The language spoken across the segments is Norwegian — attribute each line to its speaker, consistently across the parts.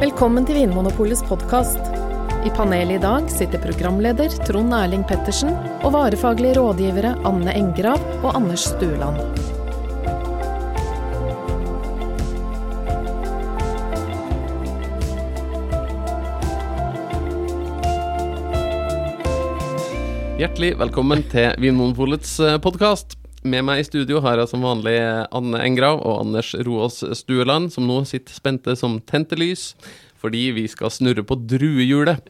Speaker 1: Velkommen til Vinmonopolets podkast. I panelet i dag sitter programleder Trond Erling Pettersen og varefaglige rådgivere Anne Engrav og Anders Stueland.
Speaker 2: Hjertelig velkommen til Vinmonopolets podkast. Med meg i studio har jeg som vanlig eh, Anne Engrav og Anders Roås Stueland, som nå sitter spente som tente lys, fordi vi skal snurre på druehjulet.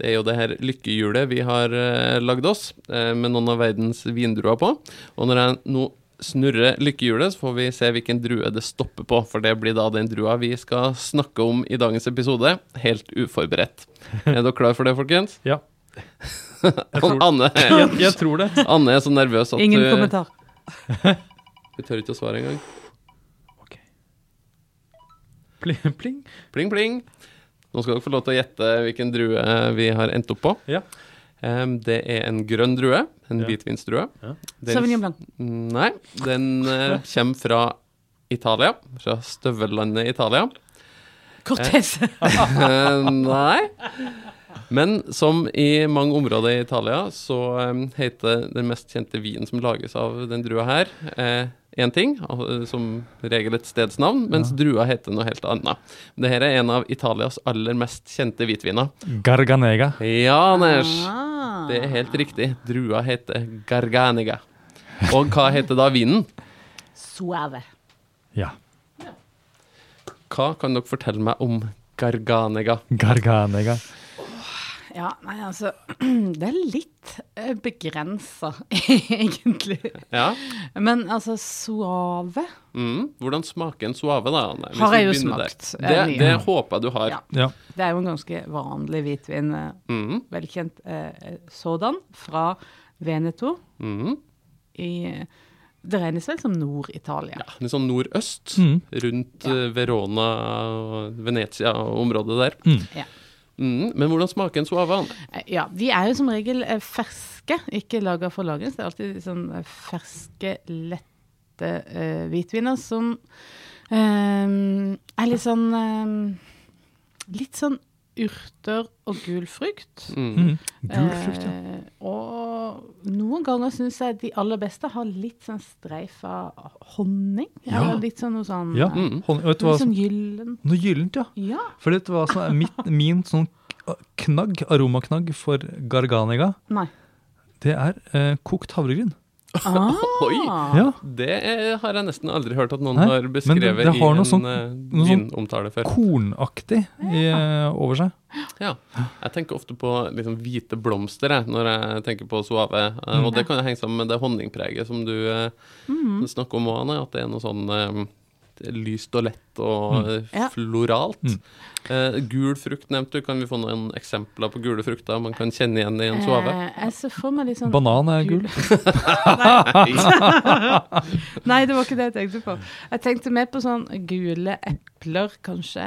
Speaker 2: Det er jo det her lykkehjulet vi har eh, lagd oss, eh, med noen av verdens vindruer på. Og når jeg nå snurrer lykkehjulet, så får vi se hvilken drue det stopper på, for det blir da den drua vi skal snakke om i dagens episode, helt uforberedt. Er dere klar for det, folkens?
Speaker 3: Ja. tror-
Speaker 2: Anne,
Speaker 3: Jeg, jeg tror det.
Speaker 2: Anne er så nervøs at
Speaker 4: Ingen
Speaker 2: hun-
Speaker 4: kommentar.
Speaker 2: hun tør ikke å svare engang.
Speaker 3: Pling, pling.
Speaker 2: Pling, pling. Nå skal dere få lov til å gjette hvilken drue eh, vi har endt opp på.
Speaker 3: Ja.
Speaker 2: Em, det er en grønn drue. En
Speaker 3: Ja.
Speaker 2: hvitvinsdrue.
Speaker 3: Ja.
Speaker 2: Den-
Speaker 4: Sauvignon Blanc.
Speaker 2: Nei, den eh, kommer fra Italia. Fra støvellandet Italia.
Speaker 4: Cortez.
Speaker 2: Eh, nei. Men som i mange områder i Italia, så eh, heter den mest kjente vinen som lages av den drua her, eh, én ting, al- eh, som regel et stedsnavn, mens drua heter noe helt annet. Dette er en av Italias aller mest kjente hvitviner.
Speaker 3: Garganega.
Speaker 2: Ja, Anders!
Speaker 4: Ah.
Speaker 2: Det er helt riktig. Drua heter Garganiga. Og hva heter da vinen?
Speaker 4: Suave.
Speaker 3: Ja.
Speaker 2: Hva kan dere fortelle meg om Garganiga?
Speaker 3: Garganega.
Speaker 4: Ja, nei, altså Det er litt begrensa, egentlig.
Speaker 2: Ja.
Speaker 4: Men altså, suave
Speaker 2: Mm. Hvordan smaker en suave, da? Anne? Hvis
Speaker 4: Har jeg
Speaker 2: vi
Speaker 4: jo
Speaker 2: begynner der.
Speaker 4: smakt,
Speaker 2: Det,
Speaker 4: eh, mye.
Speaker 2: det håper jeg du har.
Speaker 4: Ja.
Speaker 3: Ja.
Speaker 4: Det er jo en ganske vanlig hvitvin. eh,
Speaker 2: Mhm,
Speaker 4: Velkjent eh, sådan. Fra Veneto
Speaker 2: mhm.
Speaker 4: i Det regnes vel som Nord-Italia.
Speaker 2: Ja, litt sånn nordøst,
Speaker 3: Mm.
Speaker 2: rundt
Speaker 4: Ja.
Speaker 2: eh, Verona og Venezia og området der.
Speaker 3: Mm.
Speaker 4: Ja.
Speaker 2: Mhm, men hvordan smaker en suave? Anne?
Speaker 4: Eh, Ja, de er jo som regel eh, ferske, ikke laga for lagring. så Det er alltid sånn eh, ferske, lette eh, hvitviner som eh, er litt sånn eh, Litt sånn urter og gul frukt.
Speaker 2: Mhm.
Speaker 3: Mm. Gul frukt, ja.
Speaker 4: Eh, og noen ganger syns jeg de aller beste har litt sånn streif av honning.
Speaker 3: Ja.
Speaker 4: Eller litt sånn noe sånn
Speaker 3: ja.
Speaker 4: eh,
Speaker 2: Mm.
Speaker 3: Hon- Vet du hva
Speaker 4: Litt
Speaker 3: som
Speaker 4: sånn gyllen.
Speaker 3: Noe gyllent, ja.
Speaker 4: Ja.
Speaker 3: For vet du hva som er mitt, min sånn knagg, aromaknagg for garganega?
Speaker 4: Nei.
Speaker 3: Det er eh, kokt havregryn.
Speaker 4: Ah.
Speaker 2: Oi.
Speaker 3: Ja.
Speaker 2: Det er, har jeg nesten aldri hørt at noen
Speaker 3: Nei,
Speaker 2: har
Speaker 3: men det-
Speaker 2: beskrevet
Speaker 3: det har
Speaker 2: i en
Speaker 3: noe sånn-
Speaker 2: eh,
Speaker 3: noe sånn-
Speaker 2: vinomtale før.
Speaker 3: Kornaktig i, eh, over seg.
Speaker 2: Ja. Jeg tenker ofte på liksom, hvite blomster jeg, når jeg tenker på suave. eh,
Speaker 4: Mm.
Speaker 2: Og det kan jo henge sammen med det honningpreget som du eh, snakker om, Anne. At det er noe sånn eh, det er lyst og lett og eh,
Speaker 4: Ja.
Speaker 2: floralt.
Speaker 3: Mm.
Speaker 2: Eh, gul frukt nevnte du. Kan vi få noen eksempler på gule frukter man kan kjenne igjen i en suave?
Speaker 4: Eh, jeg ser for meg litt sånn
Speaker 3: Banan er gul.
Speaker 4: Nei, det var ikke det jeg tenkte på. Jeg tenkte mer på sånn gule epler, kanskje.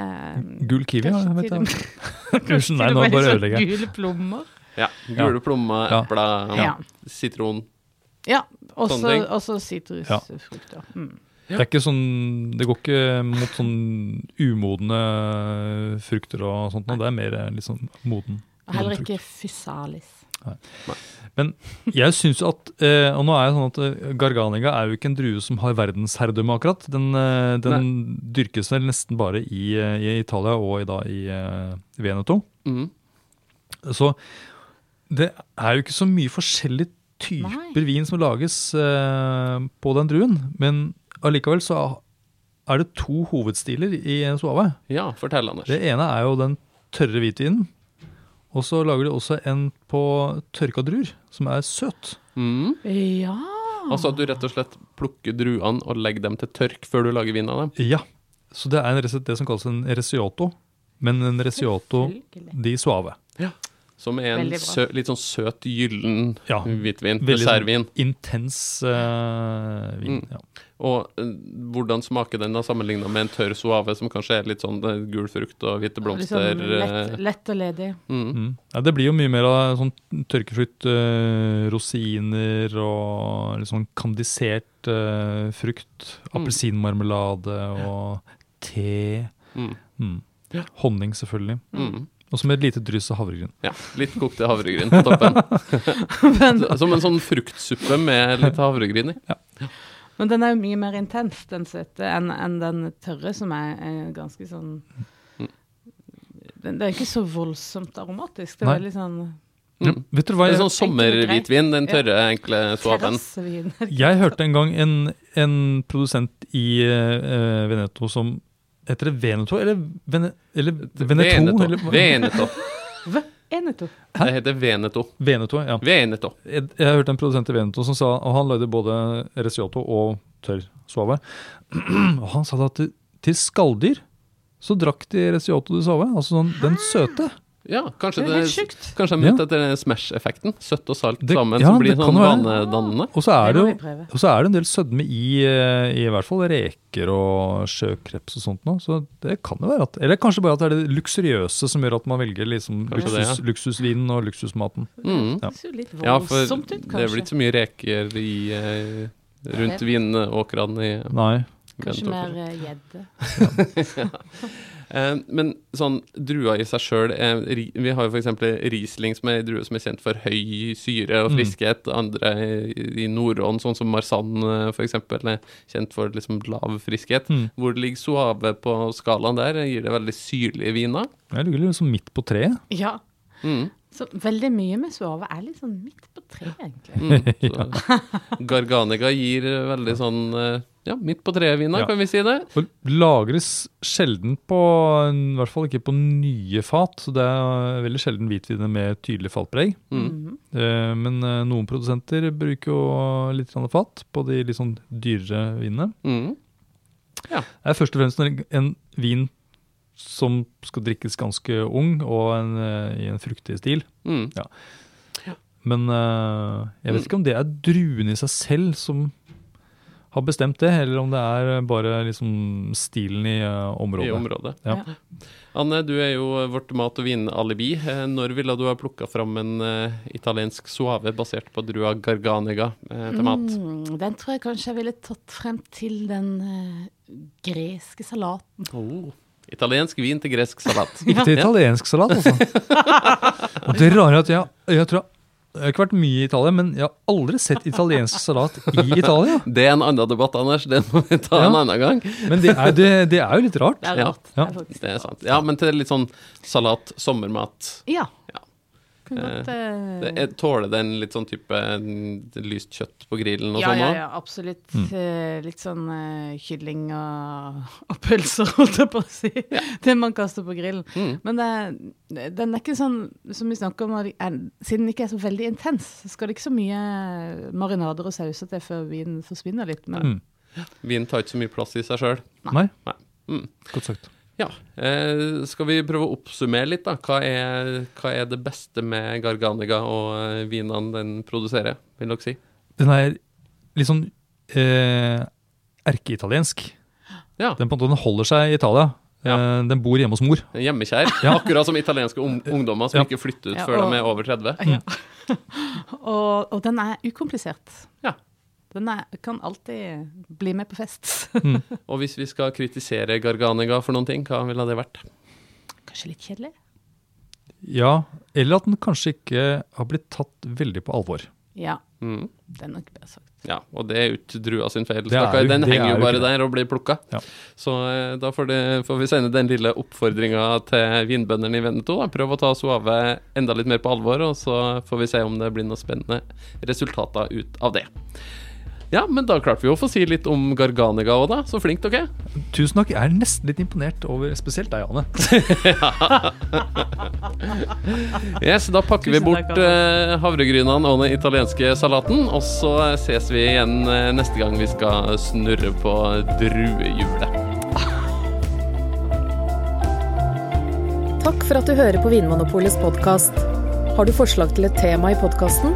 Speaker 3: Gul kiwi, ja.
Speaker 4: Kanskje
Speaker 3: Vet
Speaker 4: til
Speaker 3: jeg.
Speaker 4: og med-
Speaker 3: Unnskyld,
Speaker 4: kanskje
Speaker 3: nei,
Speaker 4: til
Speaker 3: nå
Speaker 4: og med
Speaker 3: bare
Speaker 4: litt sånn
Speaker 3: ødelegger jeg.
Speaker 4: Gule plommer.
Speaker 2: Ja. Gule plommer,
Speaker 3: Ja.
Speaker 2: epler, eh,
Speaker 4: Ja.
Speaker 2: sitron.
Speaker 4: Ja,
Speaker 2: Sånne ting.
Speaker 4: også også sitrusfrukter. Mm.
Speaker 3: Det er ikke sånn Det går ikke mot sånn umodne frukter og sånt noe. Det er mer eh, litt sånn moden.
Speaker 4: Og Heller
Speaker 3: moden frukt.
Speaker 4: ikke fysalis.
Speaker 3: Jeg syns jo at eh, Og nå er det sånn at eh, Garganega er jo ikke en drue som har verdensherredømme, akkurat. Den, eh, den dyrkes vel nesten bare i, eh, i Italia og i, da i eh, Veneto.
Speaker 2: Mm.
Speaker 3: Så det er jo ikke så mye forskjellige typer vin som lages eh, på den druen. Men allikevel så er det to hovedstiler i en suave.
Speaker 2: Ja, fortell, Anders.
Speaker 3: Det ene er jo den tørre hvitvinen. Og så lager de også en på tørka druer, som er søt.
Speaker 2: Mm.
Speaker 4: Ja.
Speaker 2: Altså at du rett og slett plukker druene og legger dem til tørk før du lager vin av dem.
Speaker 3: Ja, så det er en, resi- det som kalles en resiotto, men en resiotto
Speaker 4: Selvfølgelig.
Speaker 3: di suave.
Speaker 2: Som er en
Speaker 4: Veldig bra.
Speaker 2: sø, litt sånn søt, gyllen
Speaker 3: Ja,
Speaker 2: hvitvin.
Speaker 3: veldig sånn
Speaker 2: Dessertvin.
Speaker 3: Intens eh, vin.
Speaker 2: Mm.
Speaker 3: Ja.
Speaker 2: Og eh, hvordan smaker den da sammenligna med en tørr suave, som kanskje er litt sånn eh, gul frukt og hvite
Speaker 4: Litt
Speaker 2: blomster?
Speaker 4: sånn lett,
Speaker 2: eh,
Speaker 4: lett og ledig.
Speaker 2: mm.
Speaker 3: Mm. Ja, det blir jo mye mer av sånn tørkefrukt, eh, rosiner og litt sånn kandisert eh, frukt.
Speaker 2: Mm.
Speaker 3: Appelsinmarmelade og te.
Speaker 2: Mm.
Speaker 3: Mm. Honning, selvfølgelig.
Speaker 2: Mm.
Speaker 3: Og så med et lite dryss av havregryn.
Speaker 2: Ja, Litt kokte havregryn på toppen. Så- Som en sånn fruktsuppe med litt havregryn i.
Speaker 4: Men den er jo mye mer intens, den søte, enn enn den tørre, som er, er ganske sånn
Speaker 3: Mm.
Speaker 4: den, Det er ikke så voldsomt aromatisk. Det er
Speaker 3: Nei.
Speaker 4: veldig sånn
Speaker 2: Mm.
Speaker 3: Vet du hva
Speaker 2: Det er
Speaker 3: jeg
Speaker 2: sånn sommerhvitvin, den tørre, enkle suaven.
Speaker 4: terrassevin.
Speaker 3: Jeg hørte en gang en, en produsent i eh, Veneto som Heter det Veneto eller, Vene, eller Veneto? Eller,
Speaker 2: Veneto. Veneto.
Speaker 4: Hva? Eneto.
Speaker 2: Det heter Veneto.
Speaker 3: Veneto, ja.
Speaker 2: Veneto.
Speaker 3: Jeg, jeg hørte en produsent i Veneto som sa, og han lagde både Resiato og tørr suave. Og han sa da at til, til skalldyr så drakk de Resiato de suave, altså sånn, den søte.
Speaker 2: Ja, kanskje
Speaker 4: Det er helt
Speaker 2: det
Speaker 4: sjukt.
Speaker 2: Kanskje de er ute etter den Smash-effekten. Søtt og salt
Speaker 3: Det-
Speaker 2: sammen,
Speaker 3: ja,
Speaker 2: som blir
Speaker 3: det
Speaker 2: sånn
Speaker 3: kan være.
Speaker 2: vanedannende.
Speaker 3: Og så er det
Speaker 4: Det må
Speaker 3: jo
Speaker 4: vi prøve.
Speaker 3: og så er det en del sødme i, eh, i hvert fall reker og sjøkreps og sånt nå, så det kan jo være at Eller kanskje bare at det er det luksuriøse som gjør at man velger liksom
Speaker 2: Kanskje det,
Speaker 3: luksus, luksusvinen og luksusmaten.
Speaker 2: Mm.
Speaker 4: Det ser jo litt
Speaker 2: Ja, for
Speaker 4: voldsomt
Speaker 2: det
Speaker 4: ut,
Speaker 2: er vel
Speaker 4: kanskje.
Speaker 2: ikke så mye reker i, eh, rundt
Speaker 4: Nei.
Speaker 2: vinåkrene i
Speaker 3: Nei.
Speaker 4: Kanskje
Speaker 2: Veneto,
Speaker 4: mer eh, gjedde.
Speaker 2: Eh, Men sånn, drua i seg sjøl Vi har jo f.eks. Riesling, som er en drue som er kjent for høy syre og
Speaker 3: Mm.
Speaker 2: friskhet. Andre i- i Nordånd, sånn som Marsanne f.eks., er kjent for liksom lav friskhet.
Speaker 3: Mm.
Speaker 2: Hvor det ligger Suave på skalaen der, gir det veldig syrlige viner.
Speaker 3: Jeg ligger liksom midt på treet.
Speaker 4: Ja.
Speaker 2: Mm.
Speaker 4: Så veldig mye med suave er litt sånn midt på treet, egentlig.
Speaker 2: Mm. Så, Garganega gir veldig sånn eh, ja, midt på treet-viner,
Speaker 3: Ja.
Speaker 2: kan vi si det.
Speaker 3: Og lagres sjelden på I hvert fall ikke på nye fat. Så det er veldig sjelden hvitvin med tydelig fatpreg.
Speaker 2: Mm.
Speaker 4: Mhm.
Speaker 3: Eh, Men eh, noen produsenter bruker jo litt grann fat på de litt sånn dyrere vinene.
Speaker 2: Mm.
Speaker 3: Det er først og fremst en, en vin som skal drikkes ganske ung og en, eh, i en fruktig stil.
Speaker 2: Mm.
Speaker 3: Men eh, jeg
Speaker 2: Mm.
Speaker 3: vet ikke om det er druene i seg selv som har bestemt det, eller om det er eh, bare liksom stilen i eh, området.
Speaker 2: I området.
Speaker 3: Ja.
Speaker 2: Anne, du er jo vårt mat- og vinalibi. Eh, Når ville du ha plukka fram en eh, italiensk suave basert på drua garganega eh, til mat?
Speaker 4: Mm, den tror jeg kanskje jeg ville tatt frem til den eh, greske salaten.
Speaker 2: Oh. Italiensk vin til gresk salat.
Speaker 3: Mm. Ikke til italiensk salat, altså. Og det rare er at jeg, jeg tror jeg, jeg har ikke vært mye i Italia, men jeg har aldri sett italiensk salat i Italia.
Speaker 2: Det er en annen debatt, Anders. Den må vi ta en
Speaker 3: Ja.
Speaker 2: annen gang.
Speaker 3: Men det er, det, det er jo litt rart.
Speaker 4: Det er
Speaker 2: Ja.
Speaker 4: rart.
Speaker 3: Ja.
Speaker 4: Det er faktisk.
Speaker 2: Det er sant. Ja, men til litt sånn salat, sommermat.
Speaker 4: Ja.
Speaker 2: Ja.
Speaker 4: Kunne godt eh,
Speaker 2: Det er- Tåler den litt sånn type mm, lyst kjøtt på grillen og
Speaker 4: ja,
Speaker 2: sånn Mm.
Speaker 4: ja,
Speaker 2: òg?
Speaker 4: ja, absolutt. Eh, Litt sånn eh, kylling og, og pølser, holdt jeg på å si. Det man kaster på grillen.
Speaker 2: Mm.
Speaker 4: Men det, den er ikke sånn som vi snakker om, at det er- siden den ikke er så veldig intens, så skal det ikke så mye marinader og sauser til før vinen forsvinner litt. Men
Speaker 3: Mm.
Speaker 2: Vin tar ikke så mye plass i seg sjøl.
Speaker 3: Nei?
Speaker 2: Nei. Mm.
Speaker 3: Godt sagt.
Speaker 2: Ja. Eh, skal vi prøve å oppsummere litt, da? Hva er, hva er det beste med Garganega og eh, vinene den produserer, vil dere si?
Speaker 3: Den er litt sånn eh, erkeitaliensk.
Speaker 2: Ja.
Speaker 3: Den, på en måte- den holder seg i Italia.
Speaker 2: Ja.
Speaker 3: Eh, den bor hjemme hos mor.
Speaker 2: Hjemmekjær. Akkurat som italienske ung- ungdommer som
Speaker 3: Ja.
Speaker 2: ikke flytter ut
Speaker 4: Ja,
Speaker 2: før
Speaker 4: og-
Speaker 2: de er over 30.
Speaker 4: Ja. og, og den er ukomplisert.
Speaker 2: Ja.
Speaker 4: Den er, kan alltid bli med på fest.
Speaker 2: Og hvis vi skal kritisere Garganega for noen ting, hva ville det vært?
Speaker 4: Kanskje litt kjedelig?
Speaker 3: Ja, Eller at den kanskje ikke har blitt tatt veldig på alvor.
Speaker 4: Ja,
Speaker 2: Mm.
Speaker 4: det er nok bedre sagt.
Speaker 2: Ja, og det er jo ikke drua sin feil.
Speaker 3: Det er
Speaker 2: stakkar.
Speaker 3: jo-
Speaker 2: Den
Speaker 3: det
Speaker 2: henger
Speaker 3: er
Speaker 2: jo
Speaker 3: jo
Speaker 2: bare
Speaker 3: ikke det.
Speaker 2: der og blir plukka.
Speaker 3: Ja.
Speaker 2: Så eh, da får, det, får vi sende den lille oppfordringa til vinbøndene i Veneto. Da. Prøv å ta Suave enda litt mer på alvor, og så får vi se om det blir noen spennende resultater ut av det. Ja, men da klarte vi å få si litt om Garganega òg, da. Så flink dere er.
Speaker 3: Tusen takk. Jeg er nesten litt imponert over spesielt deg, Anne.
Speaker 2: Yes, da pakker vi
Speaker 4: Tusen
Speaker 2: bort
Speaker 4: takk, Anne.
Speaker 2: eh, havregrynene og den italienske salaten, og så ses vi igjen eh, neste gang vi skal snurre på druehjulet.
Speaker 1: Takk for at du hører på Vinmonopolets podkast. Har du forslag til et tema i podkasten?